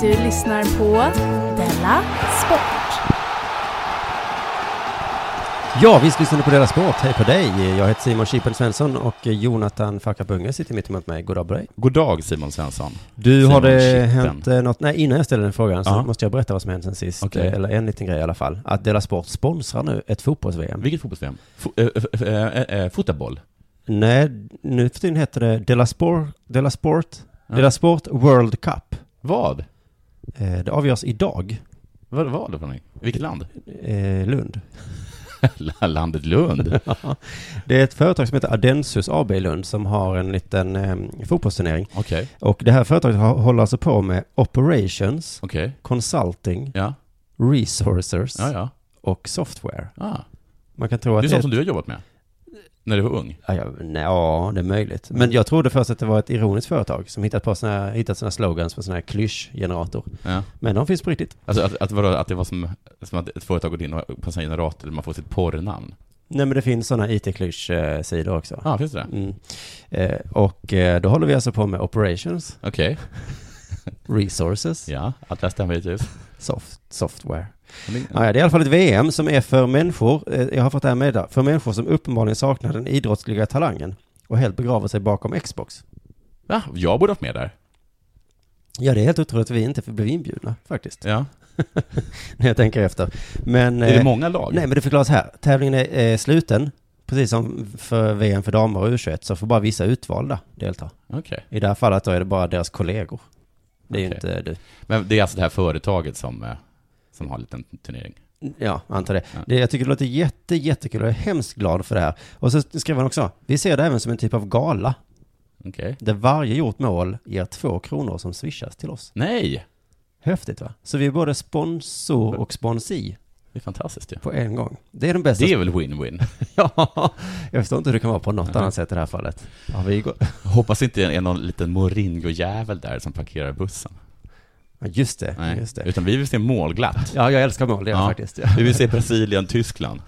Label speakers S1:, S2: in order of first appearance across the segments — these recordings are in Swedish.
S1: Du lyssnar på Della Sport.
S2: Ja, visst lyssnar ni på Dela Sport. Hej på dig! Jag heter Simon Chippen Svensson och Jonathan Fakabunge sitter mitt emot mig. God dag på dig.
S3: God dag Simon Svensson.
S2: Du,
S3: Simon
S2: har det
S3: Chippen.
S2: hänt eh, något? Nej, innan jag ställer den frågan så
S3: Ja.
S2: måste jag berätta vad som hänt sen sist.
S3: Okej.
S2: Eh, Eller en liten grej i alla fall. Att Dela Sport sponsrar nu ett fotbolls-VM.
S3: Vilket fotbolls-VM? Fo- eh, f- eh, eh, eh, Fotboll?
S2: Nej, nu för tiden heter det Dela Sport, Dela Sport, Dela Sport World Cup.
S3: Vad?
S2: Eh, Det avgörs idag.
S3: Vad var det för någonting? Vilket land?
S2: Eh, Lund.
S3: Landet Lund?
S2: Det är ett företag som heter Adensus AB i Lund som har en liten eh, fotbollsturnering.
S3: Okej,
S2: Och det här företaget har- håller alltså på med operations,
S3: okej.
S2: consulting,
S3: Ja,
S2: resources
S3: ja, ja.
S2: och software.
S3: Ah.
S2: Man kan tro
S3: Det
S2: att
S3: är
S2: det...
S3: sånt som du har jobbat med? När du var ung?
S2: Ja, ja, nej, ja, det är möjligt. Men jag trodde först att det var ett ironiskt företag som hittat på såna här, hittat såna slogans på såna här klyschgenerator.
S3: Ja.
S2: Men de finns på riktigt.
S3: Alltså att, att, vadå, att det var som, som att ett företag går in och på en sån här generator där man får sitt porrnamn?
S2: Nej, men det finns sådana IT-klyschsidor också.
S3: Ja, ah, finns det det?
S2: Mm. Eh, och eh, då håller vi alltså på med operations,
S3: Okej.
S2: resources,
S3: Ja, allt det här stämmer givetvis.
S2: soft, software.
S3: Men-
S2: Ja, det är i alla fall ett VM som är för människor, eh, jag har fått det här med där, för människor som uppenbarligen saknar den idrottsliga talangen och helt begraver sig bakom Xbox.
S3: Va? Jag borde haft med där.
S2: Ja, det är helt otroligt att vi inte blev inbjudna faktiskt,
S3: Ja.
S2: när jag tänker efter. Men,
S3: Är det
S2: eh,
S3: många lag?
S2: nej, men det förklaras här. Tävlingen är eh, sluten, precis som för VM för damer och U21, så får bara vissa utvalda delta.
S3: Okej.
S2: I det här fallet då är det bara deras kollegor. Det är ju
S3: Okej.
S2: inte du.
S3: Men det är alltså det här företaget som, eh, som har en liten turnering?
S2: Ja, antar det.
S3: Ja.
S2: det. Jag tycker det låter jätte, jättekul och jag är hemskt glad för det här. Och så skrev han också, vi ser det även som en typ av gala,
S3: Okej.
S2: där varje gjort mål ger två kronor som swishas till oss.
S3: Nej!
S2: Häftigt va? Så vi är både sponsor och sponsi
S3: Det är fantastiskt ju.
S2: på en gång. Det är den bästa
S3: Det är väl win-win?
S2: Ja, jag förstår inte hur det kan vara på något annat sätt i det här fallet. Ja, vi går...
S3: Hoppas inte det är någon liten Mourinho-jävel där som parkerar bussen.
S2: Ja, Just det, just det.
S3: Utan vi vill se målglatt.
S2: Ja, jag älskar mål, det gör jag
S3: Ja.
S2: faktiskt. Jag
S3: Vi vill se Brasilien, Tyskland.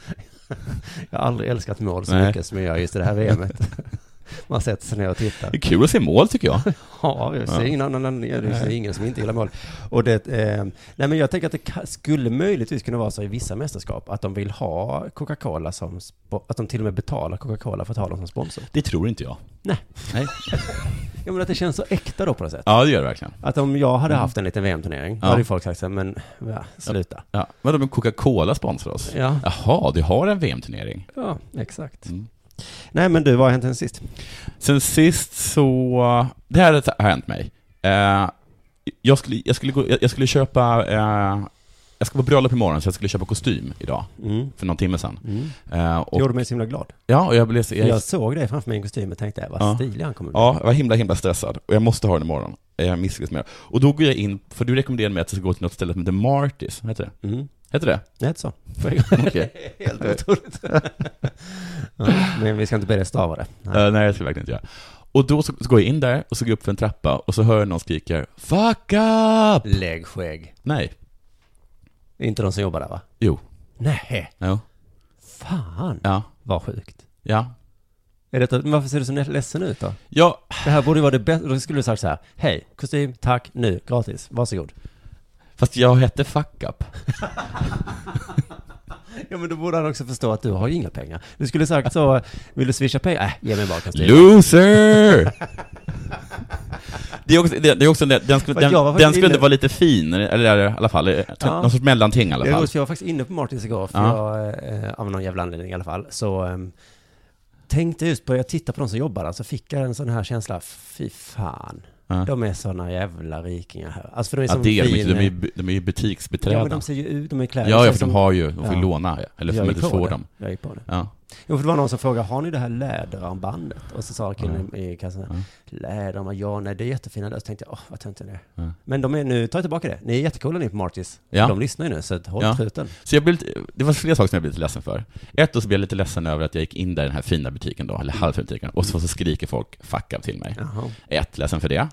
S2: jag har aldrig älskat mål så
S3: Nej.
S2: mycket som jag gör just i det här VMet. Man sätter sig ner och tittar.
S3: Det är kul att se mål tycker jag.
S2: Ja, jag ser
S3: Ja.
S2: ingen annan, annan det är ingen som inte gillar mål. Och det, eh, nej men jag tänker att det ka- skulle möjligtvis kunna vara så i vissa mästerskap att de vill ha Coca-Cola som, spo- att de till och med betalar Coca-Cola för att ha dem som sponsor.
S3: Det tror inte jag.
S2: Nej,
S3: Nej.
S2: jag menar att det känns så äkta då på något sätt.
S3: Ja, det gör det verkligen.
S2: Att om jag hade haft en liten VM-turnering, då
S3: Mm. Ja.
S2: hade ju folk sagt så här, men ja, sluta.
S3: Ja. Men de Coca-Cola sponsrar oss.
S2: Ja.
S3: Jaha, du har en VM-turnering.
S2: Ja, exakt.
S3: Mm.
S2: Nej, men du, vad har hänt sen sist?
S3: Sen sist så, det här har hänt mig. Eh, jag, skulle, jag, skulle gå, jag jag skulle köpa, eh, jag ska på bröllop imorgon så jag skulle köpa kostym idag,
S2: Mm.
S3: för någon timme sedan.
S2: Mm.
S3: Eh,
S2: Det
S3: och,
S2: gjorde mig så himla glad.
S3: ja, och jag blev så, jag,
S2: Jag såg dig framför mig i kostym och tänkte, vad
S3: Ja.
S2: stilig han kommer bli.
S3: ja, jag var himla, himla stressad och jag måste ha den imorgon. Eh, Jag misslyckas med det. Och då går jag in, för du rekommenderade mig att jag ska gå till något ställe som heter Martis, heter det?
S2: Mm.
S3: Heter det?
S2: Nej, inte så.
S3: Okej.
S2: Helt otroligt. ja, men vi ska inte börja stava det. Nej.
S3: Eh, nej, jag ska verkligen inte göra. Och då så, så går jag in där och så går jag upp för en trappa och så hör jag någon skrika 'Fuck up!'
S2: Lägg skägg.
S3: Nej.
S2: Det är Inte de som jobbar där, va?
S3: Jo.
S2: Nej.
S3: Jo.
S2: Fan.
S3: Ja.
S2: Vad sjukt.
S3: Ja.
S2: Är detta, men varför ser du så ledsen ut då?
S3: Ja,
S2: Det här borde ju vara det bästa, då skulle du sagt så här, hej, kostym, tack, nu, gratis, varsågod.
S3: fast jag hette Fuck Up.
S2: Ja men då borde han också förstå att du har ju inga pengar. Du skulle sagt så, vill du swisha pengar? Äh, ge mig bara kostymen.
S3: Loser! Det är också, det, det är också den, den skulle,
S2: Fast jag var
S3: den,
S2: faktiskt
S3: den skulle
S2: inne-
S3: inte vara lite fin, eller i alla fall, eh,
S2: Ja.
S3: någon sorts mellanting i alla
S2: Det är
S3: fall.
S2: roligt, för jag var faktiskt inne på Martins igår, för
S3: Ja.
S2: jag, eh, av någon jävla anledning i alla fall, så ehm, tänkte just på, jag tittade på de som jobbar där, så fick jag en sån här känsla, fy fan,
S3: Ja.
S2: de är såna jävla rikingar här. Alltså för de är
S3: Ja,
S2: som
S3: det är de inte, de är ju
S2: vin...
S3: bu- de är ju
S2: Ja,
S3: butiksbiträden.
S2: men de ser ju ut, de är
S3: Ja,
S2: kläder.
S3: ja,
S2: ser
S3: för
S2: som-
S3: de har ju, de får ju
S2: Ja.
S3: låna, eller
S2: Jag
S3: får,
S2: gick
S3: eller
S2: på
S3: får
S2: det.
S3: dem.
S2: Jag gick på det.
S3: Ja.
S2: Jo, för det var någon som frågade, har ni det här läderarmbandet? Och så sa killen i kassan,
S3: Ja.
S2: läderarmband, ja nej det är jättefina där. Så tänkte jag, åh vad töntigt det är.
S3: Ja.
S2: Men de är nu, ta tillbaka det, ni är jättecoola ni på Martis.
S3: Ja.
S2: De lyssnar ju nu, så att håll
S3: Ja.
S2: truten.
S3: Så jag blev lite, det var flera saker som jag blev lite ledsen för. Ett, då så blev jag lite ledsen över att jag gick in där i den här fina butiken då, eller halvfina butiken, och så, så skriker folk 'fuck up' till mig.
S2: Jaha.
S3: Ett, ledsen för det.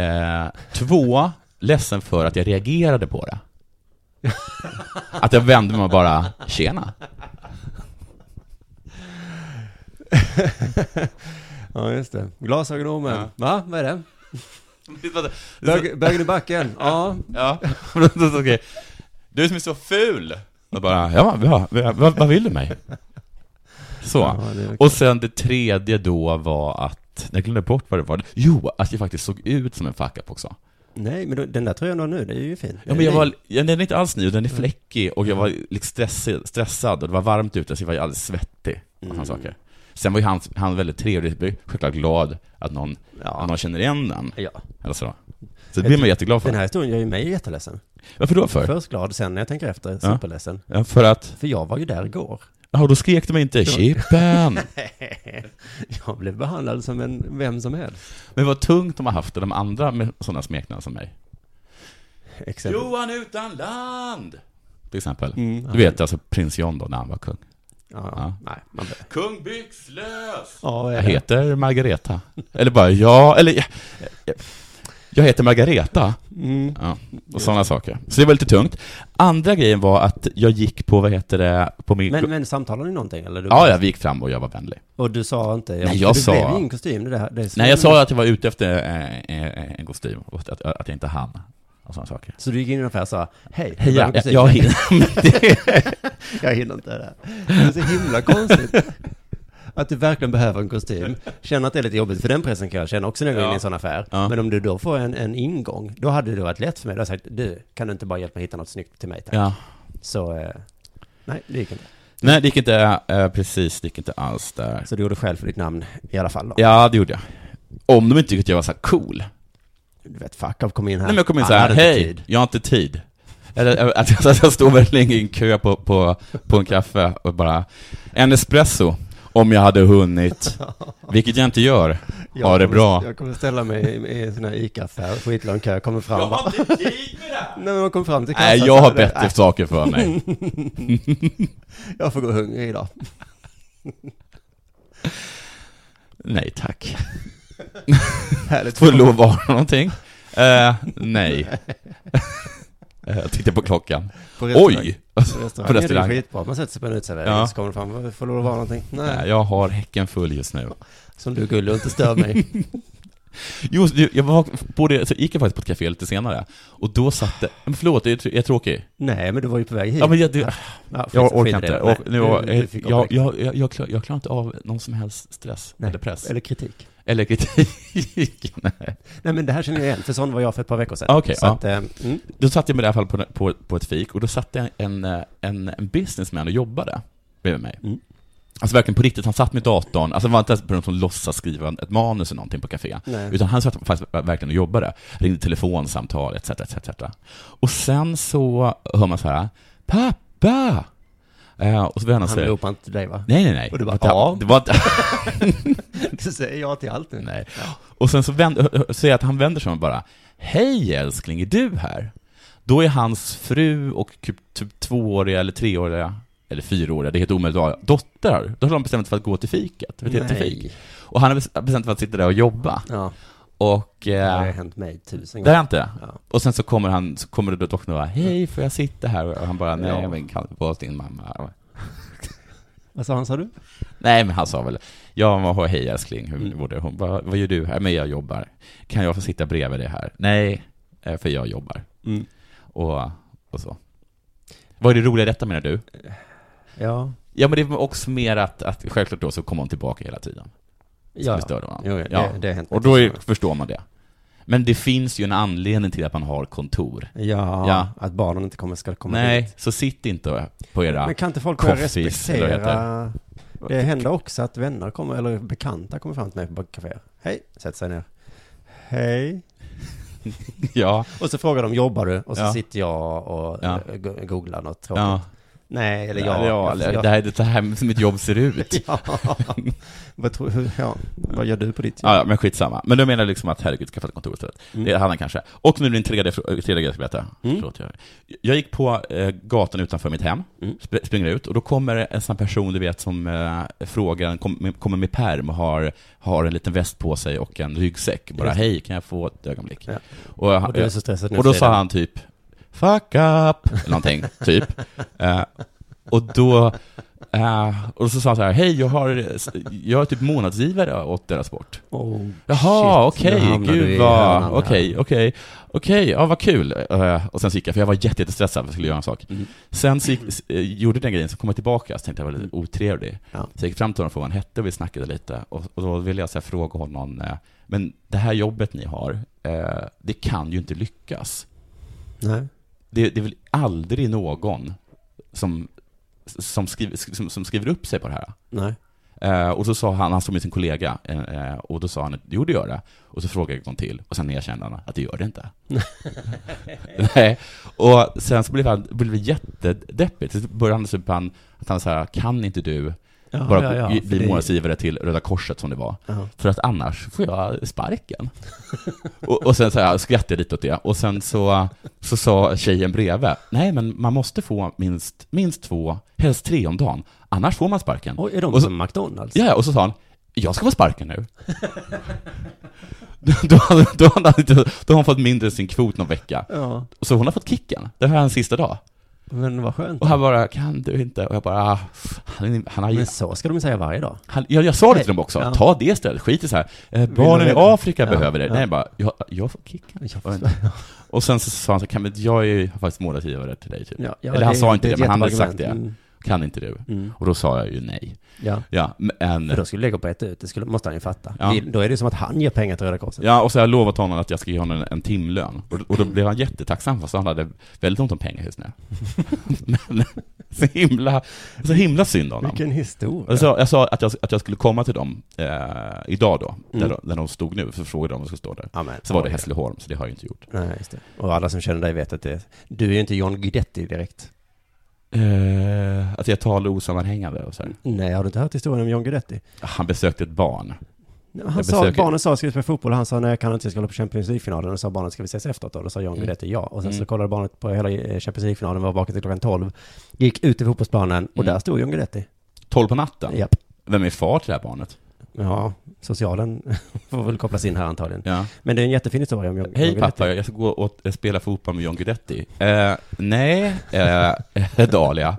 S3: Eh, två, ledsen för att jag reagerade på det. Att jag vände mig och bara 'tjena'
S2: Ja, just det. Glasögonormen.
S3: Ja.
S2: Va? Vad är det? Bög, bögen i backen? Ja.
S3: Ja, men då så, okej. Du som är så ful! Och bara, ja, ja, ja vad, vad vill du mig? Så.
S2: Ja, det är okej.
S3: Och sen det tredje då var att, jag glömde bort vad det var. Jo, att jag faktiskt såg ut som en fuck up också.
S2: Nej, men då, den där tröjan du har nu, det är ju fin.
S3: Ja, men jag var, ja, den är inte alls ny,
S2: Mm.
S3: den är fläckig och jag var liksom stressig, stressad och det var varmt ute så jag var alldeles svettig. Och
S2: Mm.
S3: såna saker. Sen var ju han, han väldigt trevlig, jag blev självklart glad att någon, att någon känner igen den.
S2: Ja.
S3: Eller så. så det blir man jätteglad för.
S2: Den här historien gör ju mig jätteledsen.
S3: Varför då för?
S2: Först glad, sen när jag tänker efter,
S3: Ja.
S2: superledsen.
S3: Ja, för att,
S2: För jag var ju där igår.
S3: ja, då skrek de inte 'Chippen!'
S2: Jag blev behandlad som en vem som helst.
S3: Men vad tungt de har haft det, de andra med sådana smeknamn som mig.
S2: Exempel.
S3: Johan utan land! Till exempel. Du vet alltså prins John då, när han var kung.
S2: Ja,
S3: Ja.
S2: Nej, man bör.
S3: Kung Byxlös!
S2: Ja, vad är
S3: Jag
S2: det?
S3: heter Margareta. Eller bara, ja, eller... Jag, jag, jag heter Margareta. Ja, och sådana saker. Så det var lite tungt. Andra grejen var att jag gick på, vad heter det, på min...
S2: Men, men samtalade ni någonting eller? Du,
S3: ja, ja, vi gick fram och jag var vänlig.
S2: Och du sa inte?
S3: Nej, jag
S2: det
S3: sa-
S2: blev ju ingen kostym. Det där, det är så-
S3: Nej, jag sa att jag var ute efter eh, eh, en kostym och att, att jag inte hann. Och sådana saker.
S2: Så du gick in i en affär och sa, hej,
S3: Hej,
S2: behöver
S3: ja,
S2: en
S3: jag,
S2: kostym?"
S3: jag hinner.
S2: Jag hinner inte det där. Det är så himla konstigt. Att du verkligen behöver en kostym. Känner att det är lite jobbigt, för den pressen kan jag känna också när jag går in i en sån affär.
S3: Ja.
S2: Men om du då får en, en ingång, då hade det varit lätt för mig. Då hade jag sagt, du, kan du inte bara hjälpa mig hitta något snyggt till mig tack?
S3: ja.
S2: Så, eh, nej, det gick inte.
S3: Nej, det gick inte, eh, precis, det gick inte alls där.
S2: Så du gjorde själv för ditt namn i alla fall då?
S3: Ja, det gjorde jag. Om de inte tyckte att jag var så här cool. Nej,
S2: Du vet, fuck up, kom in här.
S3: men jag kom in
S2: Han
S3: så här,
S2: hade inte
S3: hej,
S2: tid."
S3: jag har inte tid. Eller eh, att jag, att jag stod väldigt länge i en kö på, på, på en kaffe och bara, en espresso, om jag hade hunnit. Vilket jag inte gör.
S2: Jag
S3: Ha det
S2: kommer-
S3: bra.
S2: Jag kommer ställa mig i- i en sån här ICA-affär, skitlång kö, kommer fram och bara,
S3: inte tid med det!
S2: Nej, men man kommer fram till kassan.
S3: Nej,
S2: så
S3: jag har
S2: är det,
S3: bättre saker för mig.
S2: "Nej, Jag får gå hungrig idag.
S3: Nej, tack.
S2: Härligt.
S3: Får det lov att vara någonting? Eh, nej. Eh, Jag tittar på klockan.
S2: På restaurang.
S3: Oj!
S2: På restaurang.
S3: På
S2: På restaurang.
S3: restaurang.
S2: Är det skitbra. Man sätter sig på en uteservering
S3: Ja.
S2: så kommer det fram, får lov att vara någonting? Nej.
S3: Nej, Jag har häcken full just nu.
S2: Som du gullig och inte stör mig.
S3: Jo, så jag var på det, så gick jag faktiskt på ett café lite senare. Och då satt det, men förlåt, jag är tr- jag är tråkig.
S2: Nej, men du var ju på väg hit.
S3: Ja, men jag, du,
S2: Ja, skit-
S3: jag
S2: skit i
S3: orkar
S2: det.
S3: inte.
S2: Nej,
S3: Och, nu, jag,
S2: du- du fick
S3: jag,
S2: avbryta.
S3: jag, jag, jag, klar, jag klarar inte av någon som helst stress
S2: Nej,
S3: eller press. Eller,
S2: Eller kritik.
S3: kritik. Nej.
S2: Nej, men det här känner jag igen, för sån var jag för ett par veckor sedan.
S3: Ah, okej,
S2: så
S3: ja.
S2: att, eh, mm.
S3: Då satt jag med i alla fall på, på, på ett fik och då satt det en, eh, en, en businessman och jobbade bredvid mig.
S2: Mm.
S3: Alltså verkligen på riktigt, han satt med datorn, alltså det var inte ens någon som låtsas skriva ett manus eller någonting på café.
S2: Nej.
S3: Utan han satt faktiskt verkligen och jobbade, ringde telefonsamtal etc, etc, etc. Och sen så hör man så här, pappa! Eh, och så vänder han
S2: Han
S3: sig.
S2: ropar inte till dig, va?
S3: Nej, nej, nej.
S2: Och du bara,
S3: det, var
S2: "Ja."
S3: inte- det var inte,
S2: Du säger ja till allt nu.
S3: Nej. Och sen så vänder, säger jag att han vänder sig om och bara Hej älskling, är du här? Då är hans fru och typ, typ tvååriga eller treåriga eller fyraåriga, det är helt omöjligt att ha, dotter. Då har de bestämt sig för att gå till fiket. Till, till
S2: Nej.
S3: fik. Och han har bes- bestämt sig för att sitta där och jobba.
S2: Ja,
S3: Och...
S2: det har ju
S3: Eh,
S2: hänt mig tusen
S3: det har
S2: gånger.
S3: hänt det.
S2: Ja.
S3: Och sen så kommer han, så kommer det då doktorn och bara Hej, får jag sitta här? Och han bara Nej,
S2: Ja.
S3: men kan du vara hos din mamma?
S2: Vad sa han, sa du?
S3: Nej, men han sa väl, ja, vad har hej älskling, hur
S2: Mm.
S3: mår du? Hon bara, vad gör du här? Men jag jobbar. Kan jag få sitta bredvid dig här? Nej, eh, för jag jobbar.
S2: Mm.
S3: Och, och så. Vad är det roliga i detta menar du?
S2: Ja.
S3: Ja, men det var också mer att, att självklart då så kom hon tillbaka hela tiden. Som
S2: Ja,
S3: bestörde honom.
S2: Jo, ja, det- det har hänt
S3: och då är,
S2: mig.
S3: förstår man det. Men det finns ju en anledning till att man har kontor.
S2: ja,
S3: Ja.
S2: att barnen inte kommer, ska komma
S3: Nej,
S2: dit.
S3: så sitt inte på era...
S2: Men kan inte folk börja
S3: Coffees, eller vad heter
S2: respektera... Det händer också att vänner kommer, eller bekanta kommer fram till mig på kaféer. Hej, sätt sig ner. Hej.
S3: Ja,
S2: Och så frågar de, jobbar du? Och så
S3: Ja.
S2: sitter jag och
S3: Ja.
S2: eh, go- googlar något tråkigt.
S3: ja.
S2: Nej, eller
S3: ja,
S2: jag.
S3: ja,
S2: jag,
S3: eller, det här är det här som mitt jobb ser ut.
S2: Ja. vad, tror, hur, ja. vad gör du på ditt jobb?
S3: Ja, ja, men skitsamma. Men du menar jag liksom att herregud, skaffa ett kontor istället.
S2: Mm.
S3: Det handlar kanske. Och nu din tredje, frå- eh, tredje grej jag ska berätta. Förlåt, jag, jag gick på eh, gatan utanför mitt hem,
S2: Mm.
S3: sp springer ut, och då kommer en sån person du vet som eh, frågar, kom, med- kommer med perm och har, har en liten väst på sig och en ryggsäck. Bara hej, kan jag få ett ögonblick?
S2: Ja.
S3: Och, jag-
S2: Och du är så stressad nu,
S3: Och då
S2: säger
S3: sa
S2: du.
S3: han typ, fuck up, eller någonting, typ. Eh, och då, eh, och så sa han så här, hej, jag har, jag är typ månadsgivare åt deras sport.
S2: Oh,
S3: Jaha,
S2: shit, nu
S3: okej,
S2: hamnar du i
S3: gud vad,
S2: hörnan här.
S3: okej, okej, okej, ja vad kul. Eh, och sen så gick jag, för jag var jätte, jättestressad för jag skulle göra en sak.
S2: Mm.
S3: Sen så gick, s- eh, gjorde den grejen, så kom jag tillbaka, så tänkte jag var lite otrevlig.
S2: Mm. Ja.
S3: Så jag gick fram till honom för vad han hette och vi snackade lite, och, och då ville jag så här, fråga honom, eh, men det här jobbet ni har, eh, det kan ju inte lyckas.
S2: Nej.
S3: Det, det är väl aldrig någon som, som, skriver, som, som skriver upp sig på det här?
S2: Nej.
S3: Eh, och så sa han, han stod med sin kollega, eh, eh, och då sa han att jo det gör det. Och så frågade jag en gång till, och sen erkände han att det gör det inte. Nej. Och sen så blev, han, blev det jättedeppigt. Så började han, typ, han, att han så här, kan inte du
S2: Ja,
S3: bara
S2: ja, ja,
S3: bli-
S2: för
S3: bli
S2: det-
S3: månadsgivare till Röda Korset som det var.
S2: Ja.
S3: För att annars får jag sparken. och, och sen så här, skrattade jag lite åt det. Och sen så, så sa tjejen bredvid, nej men man måste få minst, minst två, helst tre om dagen. Annars får man sparken.
S2: Oj, är de
S3: Och så-
S2: som McDonalds?
S3: Ja, ja, och så sa han, jag ska få sparken nu. då, då, hade- då, hade han inte- då har han fått mindre än sin kvot någon vecka.
S2: Ja,
S3: Och så hon har fått kicken. Det här är hans sista dag.
S2: men vad skönt.
S3: Och han bara, kan du inte? Och jag bara, ah, han, är- han har
S2: Men så ska de säga varje dag.
S3: han, jag, jag sa det till dem också,
S2: Ja.
S3: ta det istället, skit i så här. Eh, barnen i
S2: du-
S3: Afrika
S2: Ja,
S3: behöver det.
S2: ja.
S3: Nej, jag bara, jag, jag får kicken. Och sen så sa han så här, kan, men jag är ju faktiskt målgivare till dig typ.
S2: Ja, ja,
S3: Eller han
S2: det-
S3: sa inte
S2: det är
S3: det,
S2: ett
S3: men han hade
S2: jättebra
S3: sagt det.
S2: argument.
S3: Kan inte du?
S2: Mm.
S3: Och då sa jag ju nej.
S2: Ja.
S3: Ja, men...
S2: För då skulle det gå på ett ut, det skulle, måste han ju fatta.
S3: Ja.
S2: Vi, då är det ju som att han ger pengar till Röda Korset.
S3: Ja, och så har jag lovat honom att jag ska ge honom en, en timlön. Och, och då blev han jättetacksam fast han hade väldigt ont om pengar just nu. Men så himla, så himla synd om honom.
S2: Vilken historia.
S3: Jag sa, jag sa att, jag, att jag skulle komma till dem eh, idag då,
S2: Mm.
S3: där, de- där de stod nu, för frågade de om jag skulle stå där.
S2: Ja, men-
S3: Så var det Hässleholm, så det har jag inte gjort.
S2: Nej, just det. Och alla som känner dig vet att det Du är ju inte John Guidetti direkt.
S3: Eh, att jag talar osammanhängande och så här.
S2: Nej, har du inte hört historien om John Guidetti?
S3: Han besökte ett barn.
S2: Nej, Han
S3: Jag
S2: sa,
S3: besöker-
S2: barnen sa ska vi spela fotboll och han sa nej jag kan inte, jag ska hålla på Champions League-finalen. Och sa barnen ska vi ses efteråt då? Då sa John Guidetti ja. Och sen så
S3: Mm.
S2: kollade barnet på hela eh, Champions League-finalen, var vaket till klockan 12. Gick ut till fotbollsplanen och
S3: Mm.
S2: där stod John Guidetti.
S3: Tolv på natten.
S2: Japp.
S3: Vem är far till det här barnet?
S2: Ja, socialen får väl kopplas in här antagligen.
S3: Ja.
S2: Men det är en jättefin historia om John John
S3: Hej
S2: Guidetti.
S3: pappa, jag ska gå och eh, spela fotboll med John Guidetti. Eh, nej, eh, Dahlia.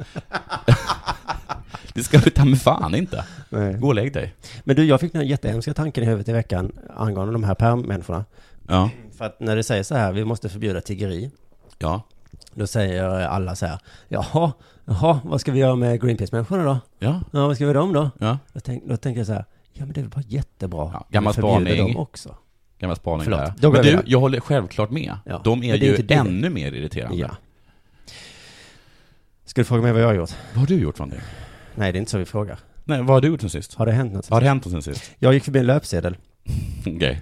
S3: det ska du ta med fan inte.
S2: Nej.
S3: Gå och lägg dig.
S2: Men du, jag fick den här jättehemska tanken i huvudet i veckan angående de här perm-människorna.
S3: Ja,
S2: För att när det säger så här, vi måste förbjuda tiggeri.
S3: ja,
S2: Då säger alla så här, jaha, jaha, vad ska vi göra med Greenpeace-människorna då?
S3: ja,
S2: Ja, vad ska vi göra med dem då?
S3: ja.
S2: Då, tänk, då tänker jag så här, ja men det är väl bara jättebra.
S3: Ja, gammal
S2: Vi förbjuder
S3: spaning.
S2: dem också.
S3: Gammal spaning
S2: Förlåt,
S3: där.
S2: då går
S3: Men
S2: jag
S3: du,
S2: vidare.
S3: jag håller självklart med.
S2: Ja,
S3: De är
S2: men det är
S3: ju
S2: inte det.
S3: ännu mer irriterande.
S2: Ja. Ska du fråga mig vad jag har gjort?
S3: Vad har du gjort från det?
S2: Nej, det är inte så vi frågar.
S3: Nej, vad har du gjort sen sist?
S2: Har det hänt något?
S3: Vad har hänt sen sist?
S2: Jag gick förbi en löpsedel.
S3: Okej.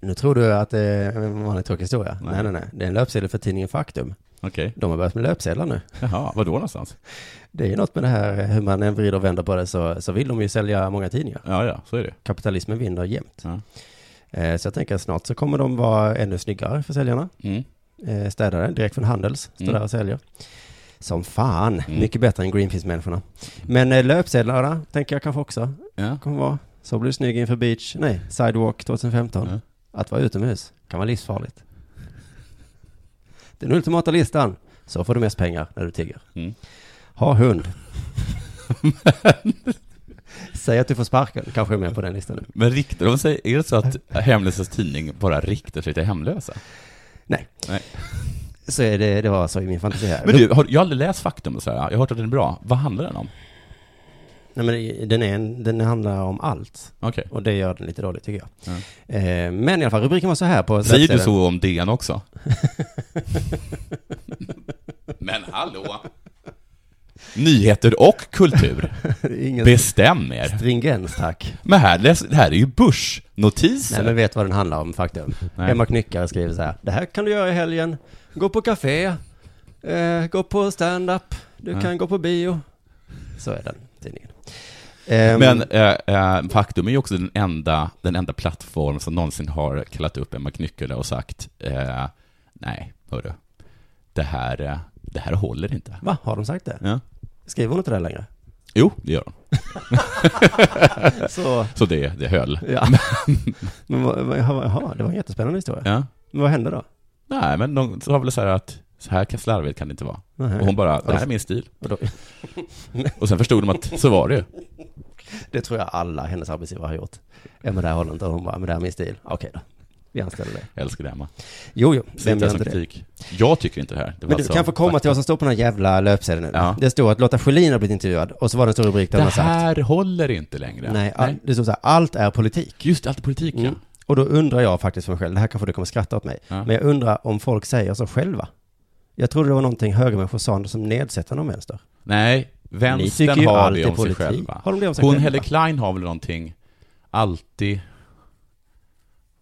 S2: Nu tror du att det är en vanlig tråkig historia.
S3: Nej.
S2: Nej. nej, nej, Det är en löpsedel för tidningen Faktum.
S3: Okej.
S2: De har börjat med löpsedlar nu.
S3: Jaha, var då någonstans?
S2: Det är ju något med det här, hur man än vrider och vänder på det så, så vill de ju sälja många tidningar.
S3: Ja, ja, så är det.
S2: Kapitalismen vinner jämt.
S3: Ja.
S2: Eh, Så jag tänker att snart så kommer de vara ännu snyggare för säljarna.
S3: Mm.
S2: Eh, Städare, direkt från Handels, står
S3: Mm.
S2: där och säljer. Som fan, mycket bättre än Greenpeace-människorna. Men eh, löpsedlarna tänker jag kanske också
S3: Ja.
S2: kommer vara. Så blir det snygg inför beach, nej, sidewalk 2015.
S3: Ja.
S2: Att vara utomhus kan vara livsfarligt. Den ultimata listan, så får du mest pengar när du tigger.
S3: Mm.
S2: Ha hund. Säg att du får sparken, kanske är med på den listan nu.
S3: Men riktar de sig, är det så att Hemlösas tidning bara riktar sig till hemlösa?
S2: Nej.
S3: Nej.
S2: Så är det, det var så i min fantasi här.
S3: Men du, har, jag har aldrig läst Faktum och sådär, jag har hört att den är bra. Vad handlar den om?
S2: Nej, men den, är en, den handlar om allt.
S3: Okej.
S2: Och det gör den lite dåligt tycker jag.
S3: Ja.
S2: Eh, men i alla fall, rubriken var så här på
S3: Säger du
S2: webbsidan.
S3: så om DN också? Men hallå! Nyheter och kultur.
S2: Ingen
S3: Bestäm er.
S2: stringens tack.
S3: Men här, läs- det här är ju börsnotiser.
S2: Nej men vet vad den handlar om faktum.
S3: Nej.
S2: Emma Knyckare skriver så här. Det här kan du göra i helgen. Gå på café. Eh, gå på stand-up. Du
S3: Ja.
S2: kan gå på bio. Så är den tidningen. Ehm,
S3: Men eh, eh, Faktum är ju också den enda, den enda plattform som någonsin har kallat upp Emma Knyckare och sagt eh, nej, hörru, det här, eh, det här håller inte.
S2: Va? Har de sagt det?
S3: Ja.
S2: Skriver hon inte det längre?
S3: Jo, det gör de.
S2: Så,
S3: Så det, det höll.
S2: ja. men vad, vad, jaha, jaha, det var en jättespännande historia.
S3: Ja.
S2: Men vad hände då?
S3: Nej, men de sa väl så här att så här kan- slarvigt kan det inte vara.
S2: Nähä.
S3: Och hon bara, det här är min stil.
S2: Och då,
S3: Och sen förstod de att så var det ju.
S2: det tror jag alla hennes arbetsgivare har gjort. Ja men det här håller inte. Och hon bara, men det här är min stil. Okej då. Vi anställer dig.
S3: Jag älskar det, Emma.
S2: Jo, jo. Vem
S3: Sitta
S2: gör
S3: som
S2: inte det?
S3: kritik. Jag tycker inte det här. Det var
S2: Men du,
S3: alltså
S2: kan jag få komma
S3: fakta.
S2: till vad som står på den här jävla löpsedeln nu?
S3: Ja.
S2: Det står att Lotta Schelin har blivit intervjuad och så var det en stor rubrik där
S3: Det
S2: hon har sagt...
S3: här håller inte längre.
S2: Nej, all, det står så här, allt är politik.
S3: Just det, allt är politik, ja.
S2: Mm. Och då undrar jag faktiskt för mig själv, det här kanske du kommer skratta åt mig,
S3: Ja.
S2: men jag undrar om folk säger så själva. Jag trodde det var någonting högermänniskor sa som nedsättande om vänster.
S3: Nej,
S2: Ni tycker
S3: vänstern
S2: ju
S3: har
S2: allt
S3: det
S2: är
S3: om sig
S2: politik.
S3: själva.
S2: Har de det om sig
S3: Hon
S2: själva?
S3: Helle Klein har väl någonting, alltid,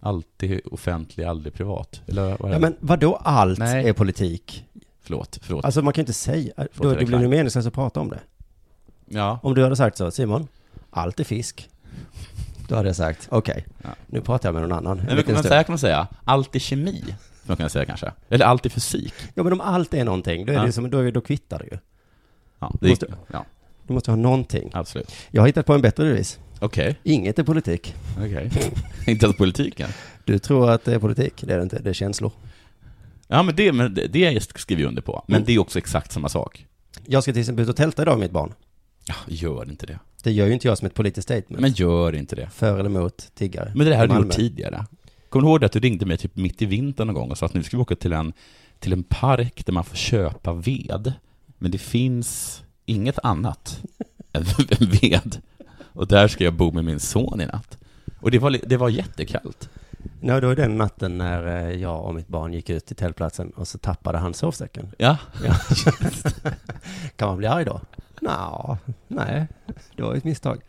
S3: alltid offentlig, aldrig privat. Eller vad
S2: Ja,
S3: är det?
S2: men vadå allt
S3: Nej.
S2: är politik?
S3: Förlåt, förlåt.
S2: Alltså man kan ju inte säga, då,
S3: Förlåt,
S2: det blir ju
S3: reklam.
S2: meningslöst att prata om det.
S3: ja.
S2: Om du hade sagt så, Simon, allt är fisk. Då hade jag sagt, okej,
S3: Ja.
S2: nu pratar jag med någon annan. en
S3: Men vad
S2: liten
S3: kan man
S2: stund.
S3: säga, kan man säga, allt är kemi, kan man kunna säga kanske. Eller allt är fysik.
S2: Ja men om allt är någonting, då, är
S3: Ja.
S2: det som, då, är- då kvittar det ju.
S3: Ja, det gick,
S2: Måste-
S3: ja
S2: Du måste ha någonting.
S3: absolut.
S2: Jag har hittat på en bättre devis.
S3: Okej,
S2: Inget är politik.
S3: okej. inte ens politiken.
S2: Du tror att det är politik, det är det inte. Det är känslor.
S3: Ja, men det, men det- det skriver jag under på. Men
S2: Mm.
S3: det är också exakt samma sak.
S2: Jag ska till exempel ut och tälta idag med mitt barn.
S3: Ja, gör inte det.
S2: Det gör ju inte jag som ett politiskt statement.
S3: Men gör inte det.
S2: För eller emot tiggare.
S3: Men det här
S2: i
S3: har du gjort
S2: Malmö.
S3: tidigare. Kommer du ihåg det att du ringde mig typ mitt i vintern någon gång och sa att nu ska vi åka till en, till en park där man får köpa ved, men det finns inget annat än ved. Och där ska jag bo med min son i natt. Och det var, li- det var jättekallt.
S2: Nej, det var den natten när eh, jag och mitt barn gick ut till tältplatsen och så tappade han sovsäcken.
S3: Ja,
S2: Ja. kan man bli arg då? Nå, nej, det var ju ett misstag.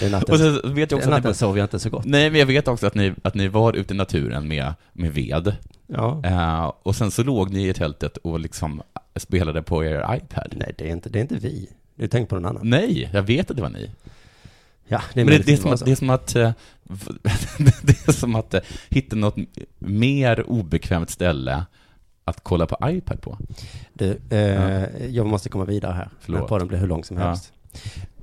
S2: Den natten,
S3: och så vet jag också
S2: den
S3: att ni,
S2: natten sov jag inte så gott.
S3: nej, men jag vet också att ni, att ni var ute i naturen med, med ved.
S2: Ja.
S3: Eh, och sen så låg ni i tältet och liksom spelade på er iPad.
S2: Nej, det är inte, det är inte vi. Du tänker på någon annan.
S3: Nej, jag vet att det var ni.
S2: Ja, det är
S3: Mm. Men det,
S2: möjligt
S3: det, är
S2: att
S3: som
S2: var
S3: att,
S2: så.
S3: det är som att, eh, det är som att eh, hitta något mer obekvämt ställe att kolla på iPad på.
S2: Du, eh, jag måste komma vidare här.
S3: Förlåt.
S2: Den här podden blir hur lång som
S3: Ja.
S2: helst.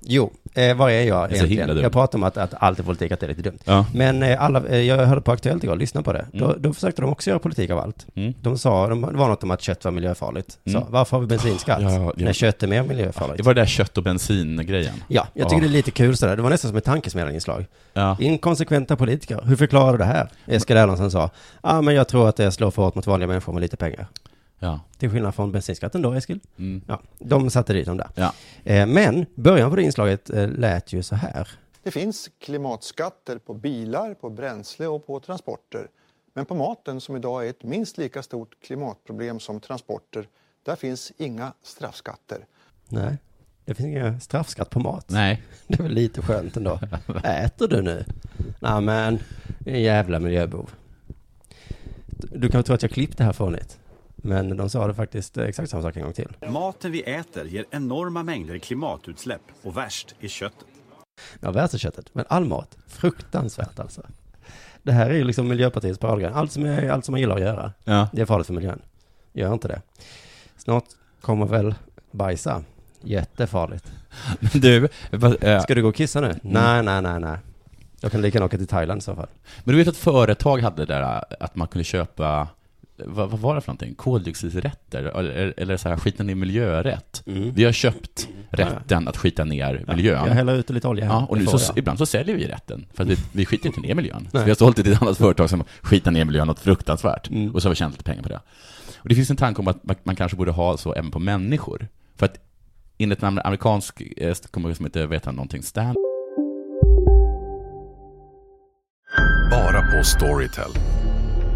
S2: jo, eh, var är jag
S3: så
S2: egentligen?
S3: himla dum.
S2: jag pratar om att, att allt är politik, att det är lite dumt.
S3: Ja.
S2: Men eh, alla, eh, jag hörde på Aktuellt igår, lyssna på det. Då,
S3: Mm.
S2: då försökte de också göra politik av allt.
S3: Mm.
S2: De sa, de, det var något om att kött var miljöfarligt. Så,
S3: Mm.
S2: varför har vi bensinskatt?
S3: Ja, ja.
S2: När kött är mer miljöfarligt.
S3: Det var det där kött och bensin-grejen.
S2: Ja, jag tycker
S3: Ja.
S2: det är lite kul sådär. Det var nästan som ett tankesmedjarinslag.
S3: Ja.
S2: Inkonsekventa politiker, hur förklarar du det här? Eskil Erlandsson sa, ja men jag tror att det slår för hårt mot vanliga människor med lite pengar.
S3: Ja.
S2: Till skillnad från bensinskatten då, Eskil.
S3: Mm.
S2: Ja, de satte dit dem där.
S3: Ja.
S2: Eh, men början på det inslaget eh, lät ju så här.
S4: Det finns klimatskatter på bilar, på bränsle och på transporter. Men på maten, som idag är ett minst lika stort klimatproblem som transporter, där finns inga straffskatter.
S2: Nej, det finns ingen straffskatt på mat.
S3: Nej.
S2: Det var lite skönt ändå. Äter du nu? Nej men, din jävla miljöbov. Du kan tro att jag klippte här fånigt. Men de sa det faktiskt eh, exakt samma sak en gång till.
S5: Maten vi äter ger enorma mängder klimatutsläpp och värst är köttet.
S2: Ja, västerköttet. Men all mat, fruktansvärt alltså. Det här är ju liksom Miljöpartiets paradgren. Allt som, är, allt som man gillar att göra,
S3: Ja.
S2: det är farligt för miljön. Gör inte det. Snart kommer väl bajsa. Jättefarligt.
S3: Men Du, vad, eh,
S2: Ska du gå och kissa nu? Nej, nej, nej, nej. Jag kan lika gärna åka till Thailand i så fall.
S3: men du vet att företag hade det där eh, att man kunde köpa vad, vad var det för någonting? Koldioxidrätter? Eller, eller så här, skiten i miljörätt.
S2: Mm.
S3: Vi har köpt rätten att skita ner miljön.
S2: Jag häller ut lite olja här.
S3: Ja, och nu
S2: Det
S3: så,
S2: får jag.
S3: ibland så säljer vi rätten, för att vi, vi skiter inte ner miljön. Så
S2: Nej.
S3: vi har sålt det till ett annat företag som skitar ner miljön något fruktansvärt,
S2: Mm.
S3: och så har vi tjänat lite pengar på det. Och det finns en tanke om att man, man kanske borde ha så även på människor. För att enligt en amerikansk, eh, kommer jag som inte vet han någonting, Stan
S6: Bara på Storytel.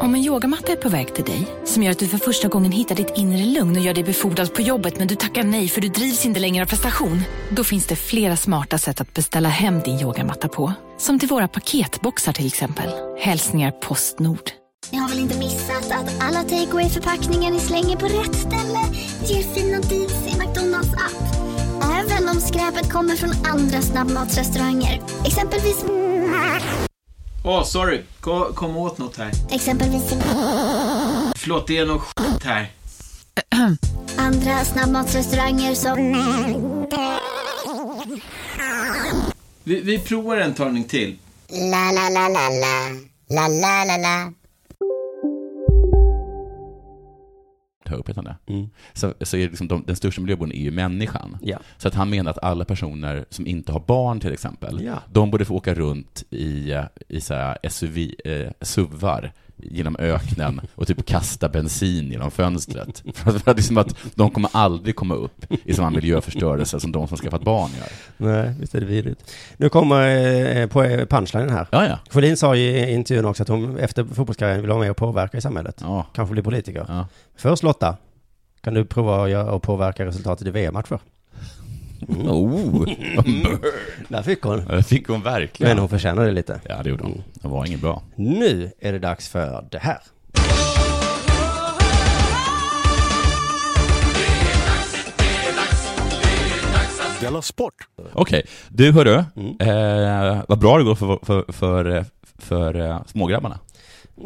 S7: Om en yogamatta är på väg till dig, som gör att du för första gången hittar ditt inre lugn och gör dig befordrad på jobbet men du tackar nej för du drivs inte längre av prestation. Då finns det flera smarta sätt att beställa hem din yogamatta på. Som till våra paketboxar till exempel. Hälsningar Postnord.
S8: Ni har väl inte missat att alla takeaway förpackningar ni slänger på rätt ställe ger fina deals i McDonalds app. Även om skräpet kommer från andra snabbmatsrestauranger. Exempelvis...
S9: Åh, sorry. Kom, kom åt något här.
S8: Exempelvis...
S9: Förlåt, det är något skit här.
S8: Andra snabbmatsrestauranger som...
S9: Vi, vi provar en talning till.
S8: La, la, la, la, la. La, la, la, la.
S3: tar upp heter han det.
S2: Mm.
S3: Så, så är det liksom de, den största miljöboven är ju människan. Så att han menar att alla personer som inte har barn till exempel,
S2: Ja.
S3: de borde få åka runt i, eh, i så här SUV, eh, SUVar genom öknen och typ kasta bensin genom fönstret. För att, för att, liksom att de kommer aldrig komma upp i samma miljöförstörelse som de som skaffat barn gör.
S2: Nej, visst är det vidrigt. Nu kommer eh, på eh, punchlinen här.
S3: Ja, ja.
S2: Sjödin sa ju i intervjun också att hon efter fotbollskarriären vill vara med och påverka i samhället. Kanske bli politiker. Först Lotta, kan du prova att göra- att påverka resultatet i VM-matcher?
S3: Oh,
S2: Mm. Där fick hon.
S3: Det fick hon verkligen.
S2: Men hon Mm. förtjänar det lite.
S3: Ja, det gjorde hon. Det var inget bra.
S2: Nu är det dags för det här.
S5: Della Sport.
S3: Okej, du hörru,
S2: Mm.
S3: eh, vad bra det går för, för, för, för eh, smågrabbarna.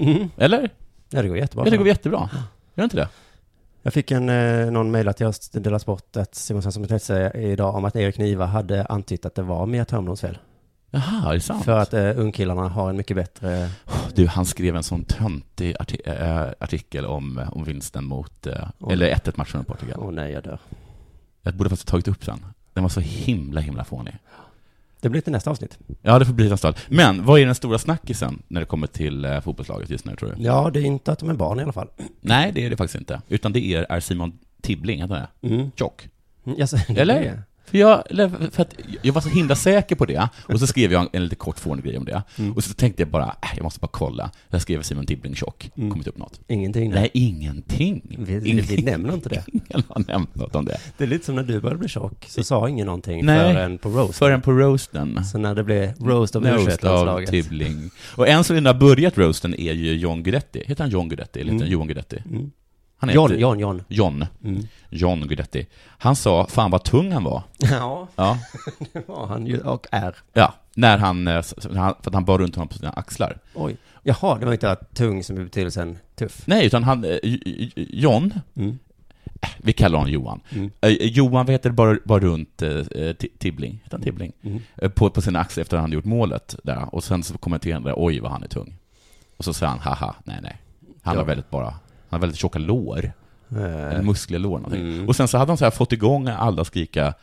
S2: Mm.
S3: Eller?
S2: Ja, det går jättebra.
S3: Ja, det går jättebra. Gör det inte det?
S2: Jag fick en, eh, någon mejl att jag delar sport att Simon Svensson betett sig idag om att Erik Niva hade antytt att det var Mia Törnbloms fel.
S3: Jaha, är det sant?
S2: För att eh, ungkillarna har en mycket bättre...
S3: Du, han skrev en sån töntig arti eh, artikel om, eh, om vinsten mot, eh, eller 1-1 matchen mot Portugal.
S2: Åh nej, jag dör.
S3: Jag borde faktiskt ha tagit upp den. Den var så himla, himla fånig.
S2: Det blir till nästa avsnitt.
S3: Ja, det får bli nästa Men vad är den stora snackisen när det kommer till eh, fotbollslaget just nu, tror du?
S2: Ja, det är inte att de är barn i alla fall.
S3: Nej, det är det faktiskt inte. Utan det är, är Simon Tibbling, heter han det?
S2: Mm.
S3: Tjock.
S2: Mm, jag säger det.
S3: Eller? För jag, eller för att jag var så himla säker på det, och så skrev jag en, en lite kort fånig grej om det.
S2: Mm.
S3: Och så tänkte jag bara, äh, jag måste bara kolla. Jag skrev Simon Tibbling tjock,
S2: Mm.
S3: kommit upp något?
S2: Ingenting.
S3: Nej, ingenting.
S2: Vi, vi, vi
S3: Ingenting.
S2: nämner inte det.
S3: Ingen har nämnt något om det.
S2: Det är lite som när du började bli tjock, så sa ingen någonting
S3: Nej,
S2: förrän på roast.
S3: Förrän på roasten.
S2: Så när det blev roast av typ- u
S3: Roast av Tibbling. Och en som redan har börjat roasten är ju John Guidetti. Heter han John Guidetti? Eller heter han
S2: Mm.
S3: Johan Guidetti?
S2: Mm.
S3: Han
S2: John, John, John.
S3: John.
S2: Mm.
S3: John Guidetti. Han sa, fan vad tung han var.
S2: Ja.
S3: ja.
S2: det var han ju och är.
S3: Ja, när han, eh, s- han- för att han bar runt honom på sina axlar.
S2: Oj. Jaha, det var inte att tung som är betydelsen tuff.
S3: Nej, utan han, eh, J- J- John, Eh, vi kallar honom Johan.
S2: Mm.
S3: Eh, Johan, vad heter det, bara, bara runt eh, Ti- Tibbling, heter han Tibbling?
S2: Mm.
S3: Eh, På, på sin axel efter han hade gjort målet där. Och sen så kommenterade han det, oj vad han är tung. Och så sa han, haha, nej nej. Han
S2: Ja.
S3: har väldigt bara, han har väldigt tjocka lår.
S2: Eh.
S3: Eller muskelår någonting.
S2: Mm.
S3: Och sen så hade han så här fått igång alla skrika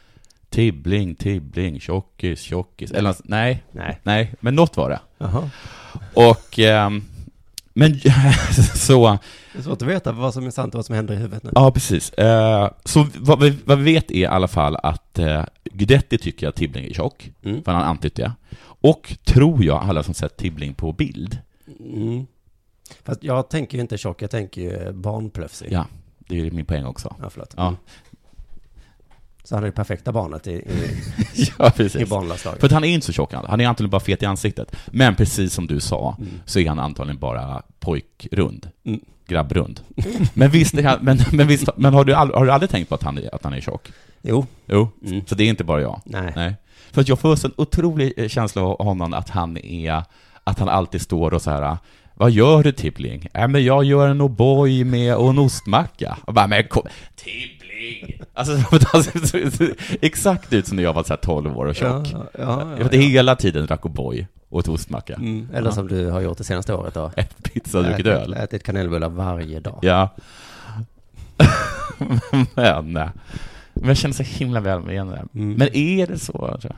S3: Tibbling, Tibbling, tjockis, tjockis. Eller något- nej,
S2: Nej.
S3: nej, men något var det.
S2: Jaha.
S3: Och, ehm, men så,
S2: Det är svårt att veta vad som är sant och vad som händer i huvudet nu.
S3: ja precis. Eh, så vad vi, vad vi vet är i alla fall att uh, Guidetti tycker att Tibbling är tjock, för han har antytt det. Och tror jag alla som sett Tibbling på bild,
S2: Mm. Fast jag tänker ju inte tjock, jag tänker ju barnplöfsig.
S3: ja, det är ju min poäng också.
S2: Ja, förlåt.
S3: Ja.
S2: Så han är det perfekta barnet i, i,
S3: ja, precis.
S2: i barnlandslaget.
S3: För att han är inte så tjock, han är antagligen bara fet i ansiktet. Men precis som du sa, så är han antagligen bara pojkrund. Grabbrund. men visst, är han- men, men, visst men har, du all, har du aldrig tänkt på att han är, att han är tjock?
S2: Jo.
S3: Jo, så det är inte bara jag.
S2: Mm. Nej.
S3: För att jag får en otrolig eh, känsla av honom att han är, att han alltid står och så här Vad gör du Tibbling? Äh, men jag gör en O'boy med och en ostmacka. Och bara, men kom, Tibbling! Alltså, han ser exakt ut som när jag var så här 12 år och tjock.
S2: Ja, ja, ja,
S3: jag åt hela tiden drack O'boy och åt ostmacka.
S2: Mm, eller som du har gjort det senaste året då.
S3: Ätit pizza och druckit
S2: Ätit-
S3: öl.
S2: Ätit kanelbullar varje dag.
S3: Ja. men, eh, men jag känner så himla väl med igen det där.
S2: Mm.
S3: Men är det så? Tror jag?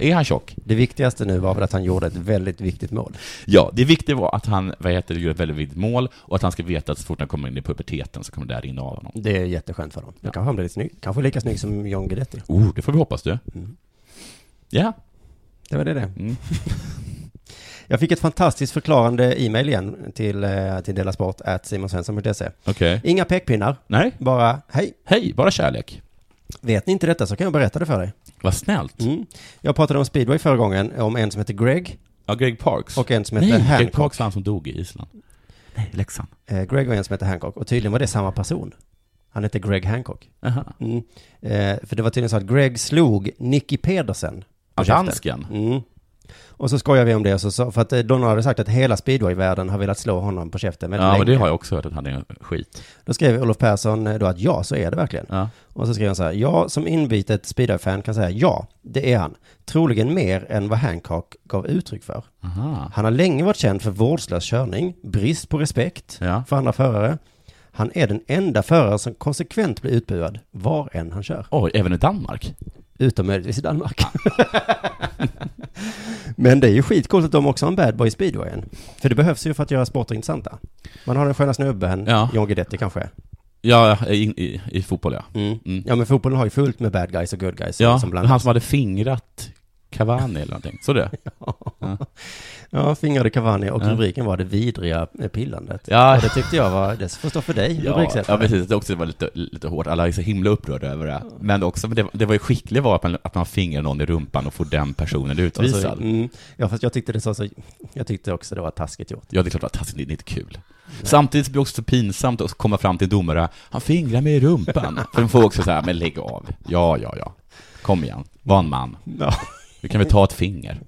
S3: Är han tjock?
S2: Det viktigaste nu var väl att han gjorde ett väldigt viktigt mål.
S3: Ja, det viktiga var att han vad heter, det, gjorde ett väldigt viktigt mål och att han ska veta att så fort han kommer in i puberteten så kommer det där rinna av honom.
S2: Det är jätteskönt för dem. Då kanske han blir lite snygg. Kanske lika snygg som John Guidetti.
S3: Oh, det får vi hoppas du.
S2: Mm.
S3: Ja.
S2: Det var det det.
S3: Mm.
S2: Jag fick ett fantastiskt förklarande e-mail igen till, eh, till delasport at simonsvensson.se.
S3: Okej.
S2: Inga pekpinnar.
S3: Nej.
S2: Bara hej.
S3: Hej, bara kärlek.
S2: Vet ni inte detta så kan jag berätta det för dig.
S3: Vad snällt.
S2: Mm. Jag pratade om speedway förra gången, om en som heter Greg.
S3: Ja, Greg Parks.
S2: Och en som
S3: Nej,
S2: heter
S3: Greg
S2: Hancock.
S3: Parks var han som dog i Island. Nej, Leksand.
S2: Eh, Greg och en som heter Hancock. Och tydligen var det samma person. Han hette Greg Hancock.
S3: Aha.
S2: Mm. Eh, för det var tydligen så att Greg slog Nicky Pedersen. på
S3: Ja,
S2: käften.
S3: dansken.
S2: Mm. Och så skojar vi om det, och så, sa- för att eh, Donna hade sagt att hela speedwayvärlden har velat slå honom på käften väldigt
S3: Ja,
S2: länge.
S3: men det har jag också hört att han är skit.
S2: Då skrev Olof Persson eh, då att ja, så är det verkligen. Och så skrev han så här, jag som inbitet speedway-fan kan säga ja, det är han. Troligen mer än vad Hancock gav uttryck för.
S3: Aha.
S2: Han har länge varit känd för vårdslös körning, brist på respekt för andra förare. Han är den enda förare som konsekvent blir utbuad, var än han kör.
S3: Oj, även i Danmark?
S2: Utom möjligtvis i Danmark. Men det är ju skitcoolt att de också har en bad boy i speedwayen. För det behövs ju för att göra sporter intressanta. Man har den sköna snubben,
S3: Ja.
S2: John Guidetti kanske.
S3: Ja, i, i, i fotboll ja.
S2: Mm. Ja men fotbollen har ju fullt med bad guys och good guys. liksom,
S3: Ja,
S2: som blandas.
S3: han som hade fingrat Cavani eller någonting. Så det? Ja.
S2: Ja, fingrade Cavani och
S3: Ja.
S2: rubriken var det vidriga eh, pillandet.
S3: Ja.
S2: Och det tyckte jag var, det får stå för dig,
S3: Ja,
S2: rubriksättare.
S3: ja, precis. Det också var lite, lite hårt. Alla är så himla upprörda över det. Men också, men det, det var ju skickligt var att man, att man fingrar någon i rumpan och får den personen utvisad.
S2: Alltså, mm, ja, fast jag tyckte det så, så, jag tyckte också det var taskigt gjort.
S3: Ja, det är klart att det var taskigt, det är inte kul. Samtidigt blir det också så pinsamt att komma fram till en domare, han fingrar mig i rumpan. För de får också så här, men lägg av. Ja, ja, ja. Kom igen, var en man.
S2: Ja.
S3: Du kan väl ta ett finger.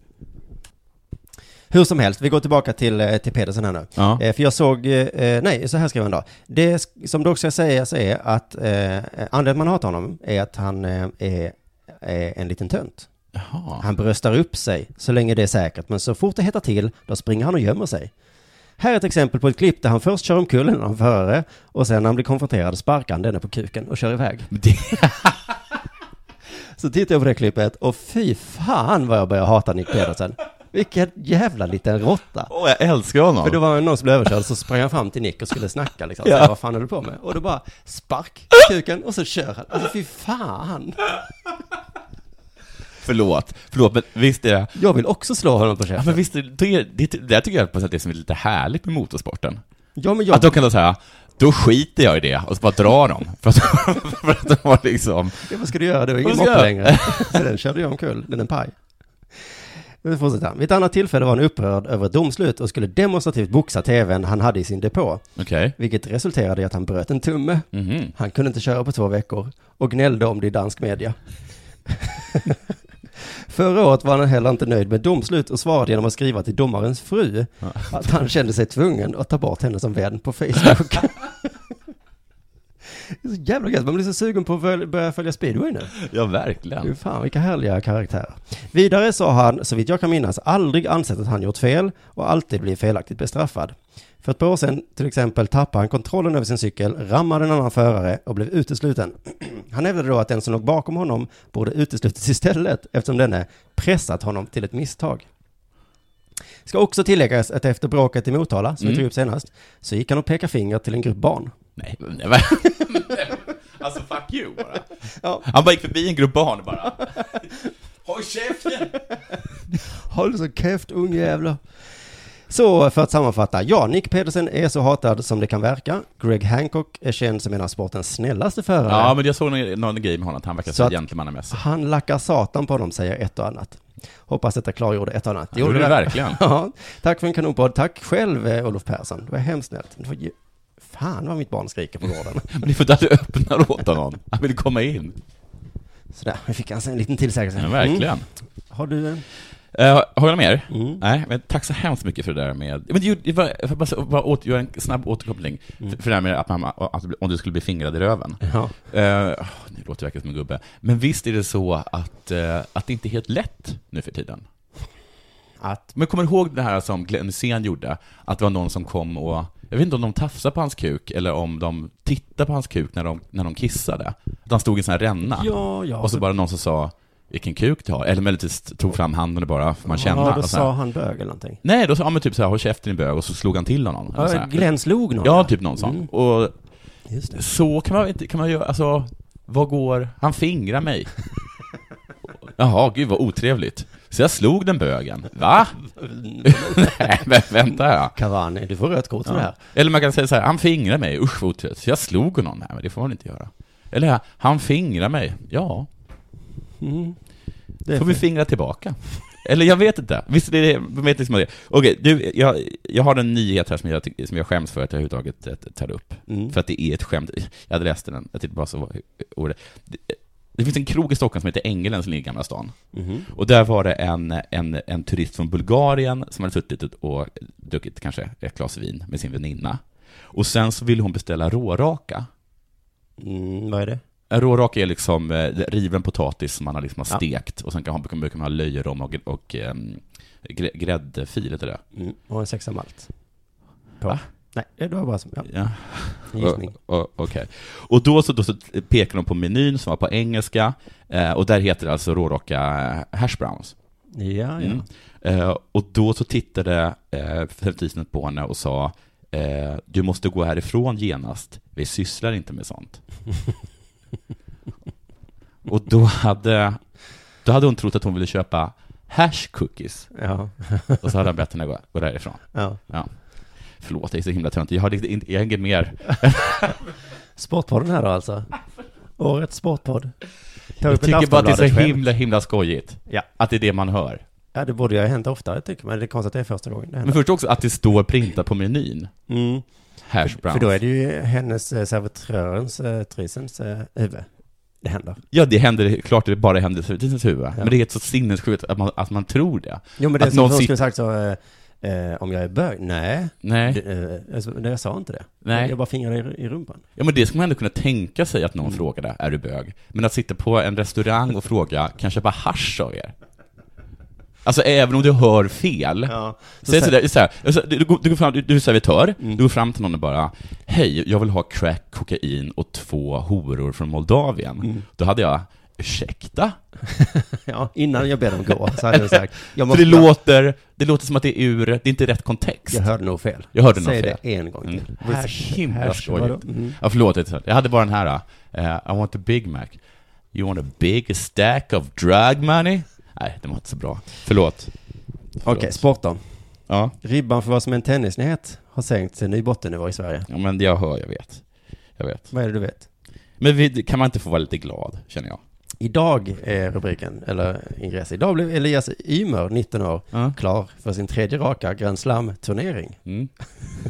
S2: Hur som helst, vi går tillbaka till, eh, till Pedersen här nu.
S3: Ja.
S2: Eh, för jag såg, eh, eh, nej, så här skrev han då. Det sk- som dock ska sägas är att eh, eh, anledningen till att man hatar honom är att han eh, är, är en liten tönt. Han bröstar upp sig så länge det är säkert, men så fort det hettar till, då springer han och gömmer sig. Här är ett exempel på ett klipp där han först kör omkull en annan förare och sen när han blir konfronterad sparkar han denne på kuken och kör iväg. så tittar jag på det klippet och fy fan vad jag börjar hata Nick Pedersen. Vilken jävla liten råtta.
S3: Åh, jag älskar honom.
S2: För då var det någon som blev överkörd så sprang han fram till Nick och skulle snacka liksom. Så
S3: Ja.
S2: här, vad fan håller du på med? Och då bara spark kuken och så kör han. Alltså fy fan.
S3: Förlåt, förlåt, men visst är det...
S2: Jag vill också slå honom på käften.
S3: Ja, men visst, är det, det, det, det där tycker jag på ett sätt är som är lite härligt med motorsporten.
S2: Ja, men jag-
S3: Att de kan då säga, då skiter jag i det och så bara drar de. För att, för att de har liksom...
S2: Ja, vad ska du göra? Det var ingen
S3: Vad ska jag
S2: moppe
S3: göra?
S2: längre. Så den körde jag omkull. Den är en paj. Nu fortsätter han. Vid ett annat tillfälle var han upprörd över ett domslut och skulle demonstrativt boxa tvn han hade i sin depå.
S3: Okej.
S2: Vilket resulterade i att han bröt en tumme.
S3: Mhm.
S2: Han kunde inte köra på två veckor och gnällde om det i dansk media. Förra året var han heller inte nöjd med domslut och svarade genom att skriva till domarens fru att han kände sig tvungen att ta bort henne som vän på Facebook. Det är så jävla gött, man blir så sugen på att väl- börja följa speedway nu.
S3: Ja, verkligen.
S2: Fy fan, vilka härliga karaktärer. Vidare sa han, så vitt jag kan minnas, aldrig ansett att han gjort fel och alltid blivit felaktigt bestraffad. För ett par år sedan, till exempel, tappade han kontrollen över sin cykel, rammade en annan förare och blev utesluten. Han hävdade då att den som låg bakom honom borde uteslutits istället eftersom denne pressat honom till ett misstag. Ska också tilläggas att efter bråket i Motala, som vi
S3: Mm.
S2: tog upp senast, så gick han och pekade finger till en grupp barn.
S3: Nej, nej, va? Alltså, fuck you bara. Han bara gick förbi en grupp barn och bara... Håll käften!
S2: Håll så käft ungjävlar. Så för att sammanfatta, ja, Nick Pedersen är så hatad som det kan verka. Greg Hancock är känd som en av sportens snällaste förare.
S3: Ja, men jag såg någon, någon grej med honom, att han verkar
S2: Så
S3: så
S2: att-
S3: gentlemannamässig.
S2: Han lackar satan på dem, säger ett och annat. Hoppas detta klargjorde ett och annat.
S3: Ja, det gjorde det verkligen.
S2: ja, tack för en kanonpodd. Tack själv, eh, Olof Persson. Det var hemskt snällt. Det var ju... Fan vad mitt barn skriker på gården.
S3: Men ni får inte aldrig öppna åt honom. Han vill komma in.
S2: Sådär, nu fick han sig en alltså liten tillsägelse. Mm.
S3: Ja, verkligen.
S2: Har du en?
S3: Eh, har jag något mer?
S2: Mm.
S3: Nej, men tack så hemskt mycket för det där med... Men det, det var, jag får bara, så- bara åter, göra en snabb återkoppling.
S2: Mm.
S3: För, för det här med att, man, att om du skulle bli fingrad i röven.
S2: Ja.
S3: Eh, åh, nu låter jag verkligen som en gubbe. Men visst är det så att, eh, att det inte är helt lätt nu för tiden? Att, men kommer du ihåg det här som Glenn Hysén gjorde? Att det var någon som kom och... Jag vet inte om de tafsade på hans kuk eller om de tittade på hans kuk när de, när de kissade. Att han stod i en sån här ränna.
S2: Ja, ja.
S3: Och så bara någon som sa vilken kuk du har. Eller möjligtvis tog fram handen och bara, får man känna?
S2: Ja, då
S3: och så här.
S2: sa han bög eller någonting.
S3: Nej, då sa han men typ så här, håll käften din bög, och så slog han till honom.
S2: Ja,
S3: Eller så här.
S2: Glenn slog någon,
S3: Ja,
S2: ja.
S3: typ någon sån.
S2: Mm.
S3: Och
S2: Just det.
S3: så kan man inte, kan man göra, alltså, vad går, han fingrar mig. Jaha, gud vad otrevligt. Så jag slog den bögen. Va? Nej, men vänta här.
S2: Cavani, du får rött kort för det här.
S3: Eller man kan säga så här, han fingrar mig, usch vad otrevligt. Så jag slog honom. Nej, men det får man inte göra. Eller här, han fingrar mig. Ja.
S2: är
S3: Mm. Får vi
S2: fint.
S3: fingra tillbaka? Eller jag vet inte. Visst är det, de vet liksom vad det är. Okej, du, jag, jag har en nyhet här som jag, tyck- som jag skäms för att jag överhuvudtaget eh, tar upp. För att det är ett skämt. Jag hade läst den, jag tyckte bara så var ordet. Det, det finns en krog i Stockholm som heter Ängeln som ligger i Gamla stan.
S2: Mhm.
S3: Och där var det en, en, en turist från Bulgarien som hade suttit och druckit kanske ett glas vin med sin väninna. Och sen så ville hon beställa råraka.
S2: Mm, vad är det?
S3: En råraka är liksom eh, riven potatis som man har liksom har
S2: Ja.
S3: stekt och sen kan man, brukar man ha löjrom och, och um, gräddfil, heter det?
S2: Mm. Och en sexa malt.
S3: Va?
S2: Nej, det var bara som... Ja.
S3: Ja.
S2: Gissning.
S3: O- o- Okej. Och då så, då så pekar de på menyn som var på engelska, eh, och där heter det alltså råraka hash browns.
S2: Ja, ja.
S3: Mm. Eh, och då så tittade eh, servitrisen på henne och sa eh, Du måste gå härifrån genast, vi sysslar inte med sånt. och då hade, då hade hon trott att hon ville köpa hash cookies. och så hade han bett henne gå, gå därifrån.
S2: Ja.
S3: Förlåt, det är så himla töntigt. Jag har riktigt inte- jag har inget mer.
S2: Sportpodden här då alltså. Årets sportpodd. Ta
S3: Jag
S2: upp ett
S3: tycker bara att det är så
S2: Aftonbladet-skämt.
S3: himla, himla skojigt.
S2: Ja.
S3: Att det är det man hör.
S2: Ja, det borde ju ha hänt oftare tycker man. Det är konstigt att det är första gången det händer.
S3: Men först också att det står printat på menyn.
S2: Mm.
S3: Hash browns.
S2: För då är det ju hennes eh, servitörens, eh, trisens eh, huvud. Det händer.
S3: Ja, det händer, klart det bara händer i servitrisens huvud. Men det är helt så sinnessjukt att man, att man tror det.
S2: Jo, men det är
S3: att
S2: som hon
S3: sitter-
S2: skulle sagt så, eh, eh, om jag är bög? Nej.
S3: Nej.
S2: Det, eh, alltså, nej, jag sa inte det.
S3: Nej.
S2: Jag bara fingrade i, i rumpan.
S3: Ja, men det skulle man ändå kunna tänka sig att någon
S2: Mm.
S3: frågade, är du bög? Men att sitta på en restaurang och fråga, kan jag köpa hasch av er? Alltså även om du hör fel.
S2: Ja.
S3: så Säg
S2: Så- Mm.
S3: sådär, sådär, så- du, du, går- du, går fram, du, du är servitör, du går fram till någon och bara, hej, jag vill ha crack, kokain och två horor från Moldavien.
S2: Mm.
S3: Då hade jag, ursäkta?
S2: ja, innan jag ber dem gå så hade jag sagt, jag
S3: För
S2: måste-
S3: det låter, det låter som att det är ur, det är inte rätt kontext.
S2: Jag hörde nog fel.
S3: Jag hörde nog
S2: Säg
S3: fel.
S2: det en gång till.
S3: Mm. Det var
S2: Hash-
S3: så himla
S2: hash,
S3: skojigt.
S2: vadå? Mm.
S3: Ja, förlåt. det är så- Jag hade bara den här. eh, I want a Big Mac. You want a big stack of drug money? Nej, det var inte så bra. Förlåt.
S2: Okej, sport då.
S3: Ja.
S2: Ribban för vad som är en tennisnyhet har sänkts till ny bottennivå i Sverige.
S3: Ja, men jag hör, jag vet. Jag vet.
S2: Vad är det du vet?
S3: Men vi, kan man inte få vara lite glad, känner jag?
S2: Idag är rubriken, eller ingress. Idag blev Elias Ymer, 19 år, klar för sin tredje raka Grand Slam-turnering.
S3: Mm.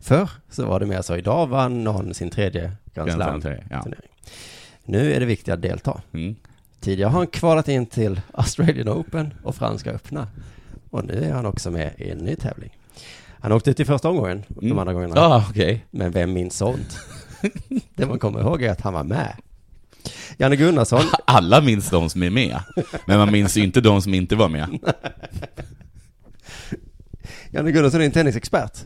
S2: Förr så var det mer så, idag vann någon sin tredje Grand
S3: Grand Slam,
S2: Slam-turnering.
S3: ja.
S2: Nu är det viktigt att delta.
S3: Mm.
S2: Tidigare har han kvalat in till Australian Open och Franska Öppna. Och nu är han också med i en ny tävling. Han åkte ut i första omgången, de andra gångerna.
S3: Ah, okej.
S2: Men vem minns sånt? det man kommer ihåg är att han var med. Janne Gunnarsson.
S3: Alla minns de som är med, men man minns ju inte de som inte var med.
S2: Janne Gunnarsson är en tennisexpert.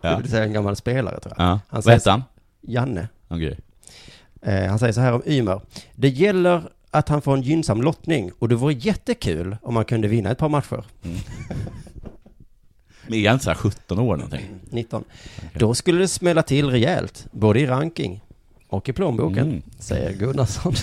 S3: Ja.
S2: Det vill säga en gammal spelare tror jag.
S3: Ja. Vad
S2: säger-
S3: hette han?
S2: Janne.
S3: Okej.
S2: Eh, han säger så här om Ymer. Det gäller att han får en gynnsam lottning och det vore jättekul om han kunde vinna ett par matcher.
S3: Men är han inte så här 17 år någonting?
S2: 19. Då skulle det smälla till rejält, både i ranking och i plånboken,
S3: Mm.
S2: säger Gunnarsson.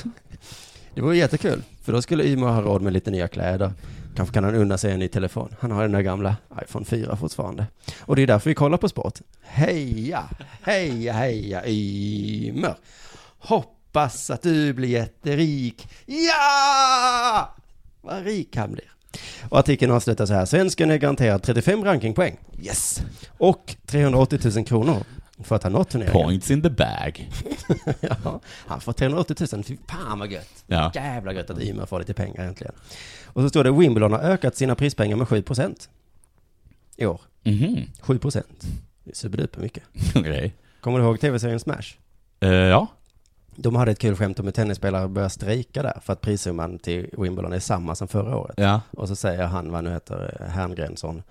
S2: Det vore jättekul, för då skulle Ymer ha råd med lite nya kläder. Kanske kan han unna sig en ny telefon. Han har den där gamla iPhone 4 fortfarande. Och det är därför vi kollar på sport. Heja, heja, heja Ymer! Hoppas att du blir jätterik. Ja! Vad rik han blir. Och artikeln avslutar så här. Svensken är garanterad 35 rankingpoäng. Yes! Och 380 000 kronor. För att han nått turneringen.
S3: Points in the bag.
S2: ja, han får 380 000. Fy fan vad gött.
S3: Ja.
S2: Jävla gött att Ymer får lite pengar äntligen. Och så står det Wimbledon har ökat sina prispengar med 7 procent. I år.
S3: Mhm.
S2: 7 procent. Det är superduper mycket.
S3: Okej.
S2: Kommer du ihåg tv-serien Smash?
S3: Eh, ja.
S2: De hade ett kul skämt om hur tennisspelare börjar strejka där för att prissumman till Wimbledon är samma som förra året.
S3: Ja.
S2: Och så säger han, vad nu heter, eh, Herngrensson,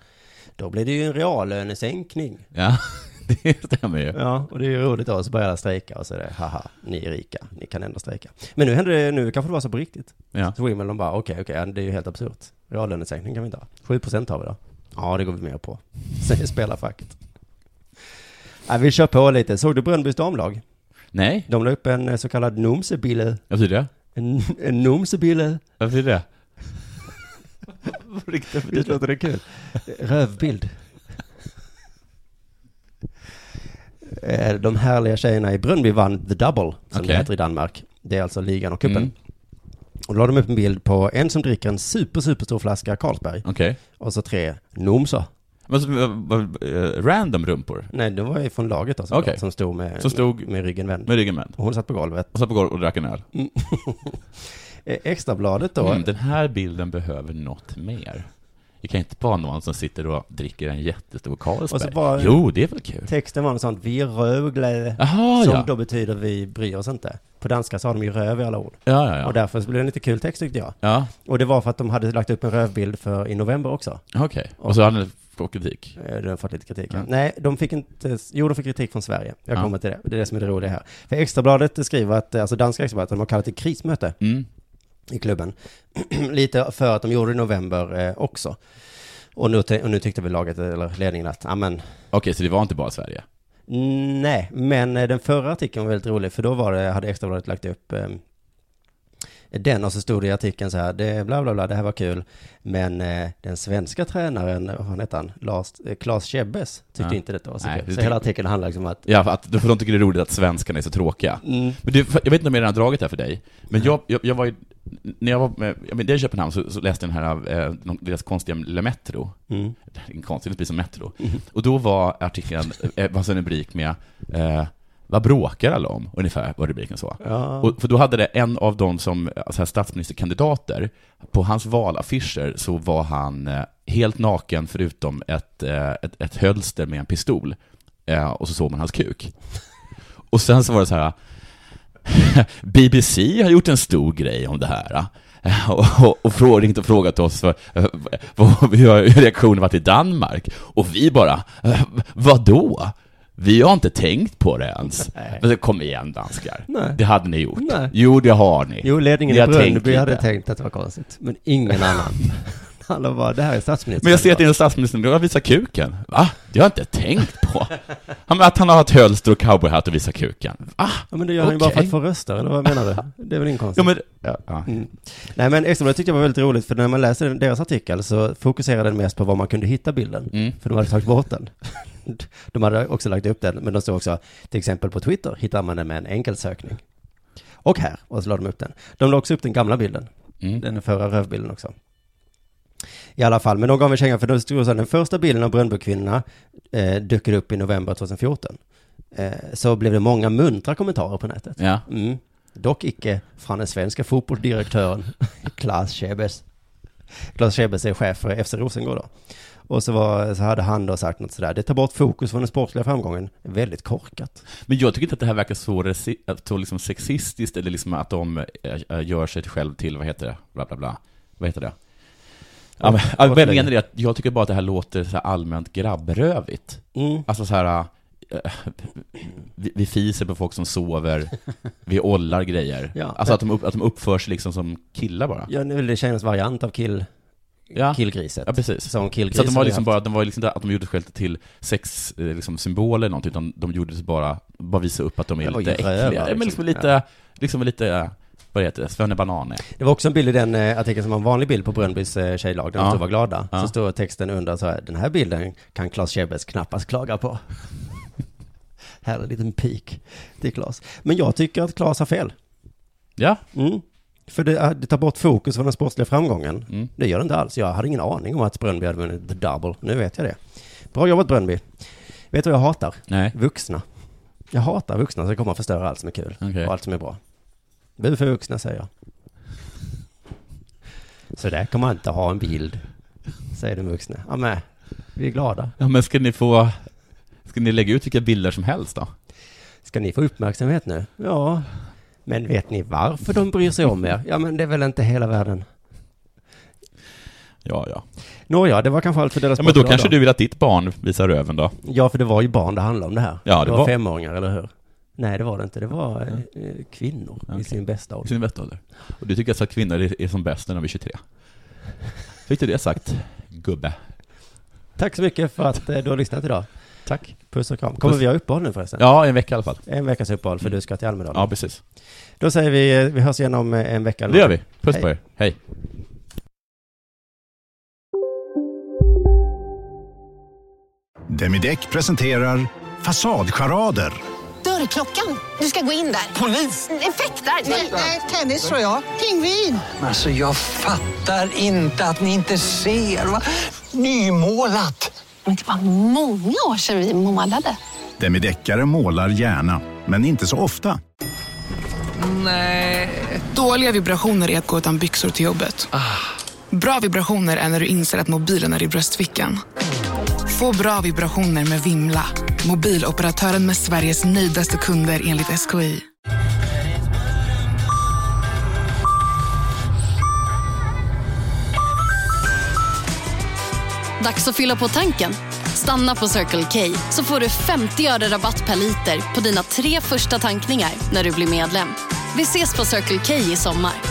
S2: då blir det ju en reallönesänkning.
S3: Ja, det stämmer ju.
S2: Ja, och det är ju roligt då, så börjar alla strejka och så är det, haha, ni är rika, ni kan ändå strejka. Men nu händer det, nu kanske det var så på riktigt.
S3: Ja.
S2: Så Wimbledon bara, okej, okej, det är ju helt absurt. Reallönesänkning kan vi inte ha. 7% har vi då. Ja, det går vi med på, säger spelarfacket. Ja, vi kör på lite. Såg du Brönnbys damlag?
S3: Nej.
S2: De la upp en eh, så kallad nomsebille.
S3: Vad betyder det?
S2: En, en nomsebille.
S3: Vad betyder det?
S2: Visst låter det kul? Rövbild. Eh, De härliga tjejerna i Brönnby vann The Double, som
S3: Okej.
S2: det heter i Danmark. Det är alltså ligan och cupen.
S3: Mm.
S2: Och då la de upp en bild på en som dricker en super, super stor flaska Carlsberg.
S3: Okej.
S2: Och så tre nomsar.
S3: Men så, eh, vad- eh, random rumpor?
S2: Nej, det var ju från laget då,
S3: Okej.
S2: som stod med,
S3: Som stod-
S2: med ryggen vänd.
S3: Med ryggen vänd.
S2: Och hon satt på golvet.
S3: Och satt på golvet och drack en öl.
S2: Mm. Eh, Extrabladet då.
S3: Mm, den här bilden behöver något mer. Det kan inte vara någon som sitter och dricker en jättestor
S2: Och så
S3: Carlsberg.
S2: bara-
S3: Jo, det är väl kul?
S2: Texten var något sånt, vi är rövglade,
S3: Aha,
S2: som
S3: ja.
S2: då betyder vi bryr oss inte. På danska sa de ju röv i alla ord.
S3: Ja, ja, ja.
S2: Och därför så blev det en lite kul text tyckte jag.
S3: Ja.
S2: Och det var för att de hade lagt upp en rövbild för i november också. Eh,
S3: Okej. Och så hade ni fått kritik?
S2: Du har fått lite kritik.
S3: Ja.
S2: Nej, de fick inte, jo de fick kritik från Sverige. Jag
S3: Ja.
S2: kommer till det, det är det som är det roliga här. För Extrabladet skriver att, alltså danska Extrabladet, de har kallat till krismöte
S3: Mm.
S2: i klubben. lite för att de gjorde det i november eh, också. Och nu, te- och nu tyckte väl laget, eh, eller ledningen att, amen,
S3: Okej, så det var inte bara Sverige?
S2: Nej, men eh, den förra artikeln var väldigt rolig, för då var det, hade Extrabladet lagt upp eh, den och så stod det i artikeln så här, det, bla bla bla, det här var kul, men eh, den svenska tränaren, vad fan hette han, Lars, eh, Claes Tjebbes, tyckte
S3: Ja.
S2: inte detta var så
S3: Nej,
S2: kul. Så
S3: det-
S2: hela artikeln handlar liksom om att,
S3: Ja, för att för de tycker det är roligt att svenskarna är så tråkiga.
S2: Mm.
S3: Men du, för- jag vet inte om jag redan har dragit det här för dig, men jag, jag, jag var ju, när jag var med, jag med dig i Köpenhamn så, så läste jag den här, av, eh, någon- deras konstiga Le Metro.
S2: Mm.
S3: Det här är en konstig, det blir som Metro. Och då var artikeln, eh, var så en rubrik med, eh, vad bråkar alla om? Ungefär var rubriken så.
S2: Ja.
S3: Och, för då hade det en av de som, eh, så här statsministerkandidater, på hans valaffischer så var han eh, helt naken förutom ett, eh, ett, ett hölster med en pistol. Eh, och så såg man hans kuk. Och sen så var det så här, BBC har gjort en stor grej om det här. eh, Och, och, och frå- ringt och frågat oss för, eh, vad- hur har reaktionen varit i Danmark. Och vi bara, eh, vadå? Vi har inte tänkt på det ens. Men så, kom igen danskar,
S2: Nej.
S3: det hade ni gjort.
S2: Nej.
S3: Jo, det har ni.
S2: jo ledningen
S3: Ni
S2: i
S3: har tänkt
S2: Brönnby
S3: lite.
S2: hade tänkt att det var konstigt, men ingen annan. Alla bara, det här är statsministern.
S3: Men jag ser att det är en statsminister, jag visar kuken. Va? Det har jag inte tänkt på. Han, att han har ett hölster och cowboyhatt och visar kuken. Va?
S2: Ja men det gör han ju bara för
S3: Okej.
S2: att få röster, eller vad menar du? Det är väl
S3: Ja,
S2: inkonstigt?
S3: men, Alltså, ja, ja.
S2: Mm. Nej men Extrabladet tyckte jag var väldigt roligt för när man läser deras artikel så fokuserade den mest på var man kunde hitta bilden.
S3: Mm.
S2: För de hade tagit bort den. De hade också lagt upp den, men de stod också, till exempel på Twitter hittar man den med en enkel sökning. Och här, och så la de upp den. De la också upp den gamla bilden.
S3: Mm.
S2: Den förra rövbilden också. I alla fall, men de gav mig känga för då stod det så här, den första bilden av Brönnbykvinnorna eh, dyker upp i november 2014. Eh, så blev det många muntra kommentarer på nätet.
S3: Ja.
S2: Mm. Dock icke från den svenska fotbollsdirektören Klas Schebes. Klas Schebes är chef för FC Rosengård då. Och så, var, så hade han då sagt något sådär, det tar bort fokus från den sportsliga framgången. Väldigt korkat.
S3: Men jag tycker inte att det här verkar så, resi- så liksom sexistiskt, eller liksom att de eh, eh, gör sig själv till, vad heter det, bla bla bla. Vad heter det? Ja, men, ja, vad jag menar är att jag tycker bara att det här låter så här allmänt grabbrövigt.
S2: Mm.
S3: Alltså så här, eh, vi, vi fiser på folk som sover, vi ollar grejer.
S2: Ja.
S3: Alltså att de, upp, att de uppför sig liksom som killar bara.
S2: Ja, nu är väl det tjejens variant av kill,
S3: Ja.
S2: killgriset.
S3: Ja, precis.
S2: Som
S3: så att
S2: killgrisen
S3: de var liksom
S2: haft.
S3: bara, de var liksom inte att de gjorde sig själva till sex, eh, liksom symboler eller någonting, utan de gjorde sig bara, bara visa upp att de är
S2: Det var
S3: lite
S2: ju rövar,
S3: äckliga. Ja, Men
S2: liksom.
S3: liksom lite,
S2: Ja.
S3: liksom lite, eh, vad heter det, svennebanan är.
S2: Det var också en bild i den eh, artikeln som var en vanlig bild på Brönnbys eh, tjejlag, där de
S3: Ja.
S2: stod var glada.
S3: Ja.
S2: Så stod texten under så här, den här bilden kan Klas Schebes knappast klaga på. här är en liten pik till Klas. Men jag tycker att Klas har fel.
S3: Ja.
S2: Mm. För det, eh, det tar bort fokus från den sportsliga framgången.
S3: Mm.
S2: Det gör det inte alls. Jag hade ingen aning om att Brönnby hade vunnit the double. Nu vet jag det. Bra jobbat Brönnby. Vet du vad jag hatar?
S3: Nej.
S2: Vuxna. Jag hatar vuxna som kommer att förstöra allt som är kul och allt som är bra. Bu för vuxna, säger jag. Så där kan man inte ha en bild, säger den vuxna. Ja, men vi är glada.
S3: Ja, men ska ni få... Ska ni lägga ut vilka bilder som helst då?
S2: Ska ni få uppmärksamhet nu? Ja. Men vet ni varför de bryr sig om er? Ja, men det är väl inte hela världen.
S3: Ja, ja.
S2: Nåja, det var kanske allt för deras
S3: ja men då
S2: sportlag
S3: kanske du vill att ditt barn visar röven då?
S2: Ja, för det var ju barn det handlade om det här.
S3: Ja, det
S2: det var,
S3: var-
S2: femåringar, eller hur? Nej, det var det inte. Det var eh, eh, kvinnor i sin bästa ålder.
S3: I sin bästa ålder. Och du tycker alltså att kvinnor är är som bäst när de är 23? Fick du det sagt, gubbe?
S2: Tack så mycket för att eh, du har lyssnat idag.
S3: Tack.
S2: Puss och kram. Kommer
S3: Puss.
S2: vi ha uppehåll nu förresten?
S3: Ja, en vecka i alla fall.
S2: En veckas uppehåll, för du ska till Almedalen.
S3: Ja, precis.
S2: Då säger vi, eh, vi hörs igen om eh, en vecka. eller
S3: Det gör vi.
S2: något.
S3: Puss
S2: Hej.
S3: på er. Hej.
S10: Demideck presenterar Fasadcharader.
S11: Dörrklockan. Du ska gå in där. Polis? Effektar? Nej, tennis tror jag. Pingvin.
S12: Alltså jag fattar inte att ni inte ser. Va? Nymålat!
S11: Men det var många år sedan vi målade.
S13: Demideckare målar gärna, men inte så ofta.
S14: Nej. Dåliga vibrationer är att gå utan byxor till jobbet. Bra vibrationer är när du inser att mobilen är i bröstfickan. Få bra vibrationer med Vimla. Mobiloperatören med Sveriges nöjdaste kunder enligt SKI.
S15: Dags att fylla på tanken. Stanna på Circle K så får du 50 öre rabatt per liter på dina tre första tankningar när du blir medlem. Vi ses på Circle K i sommar.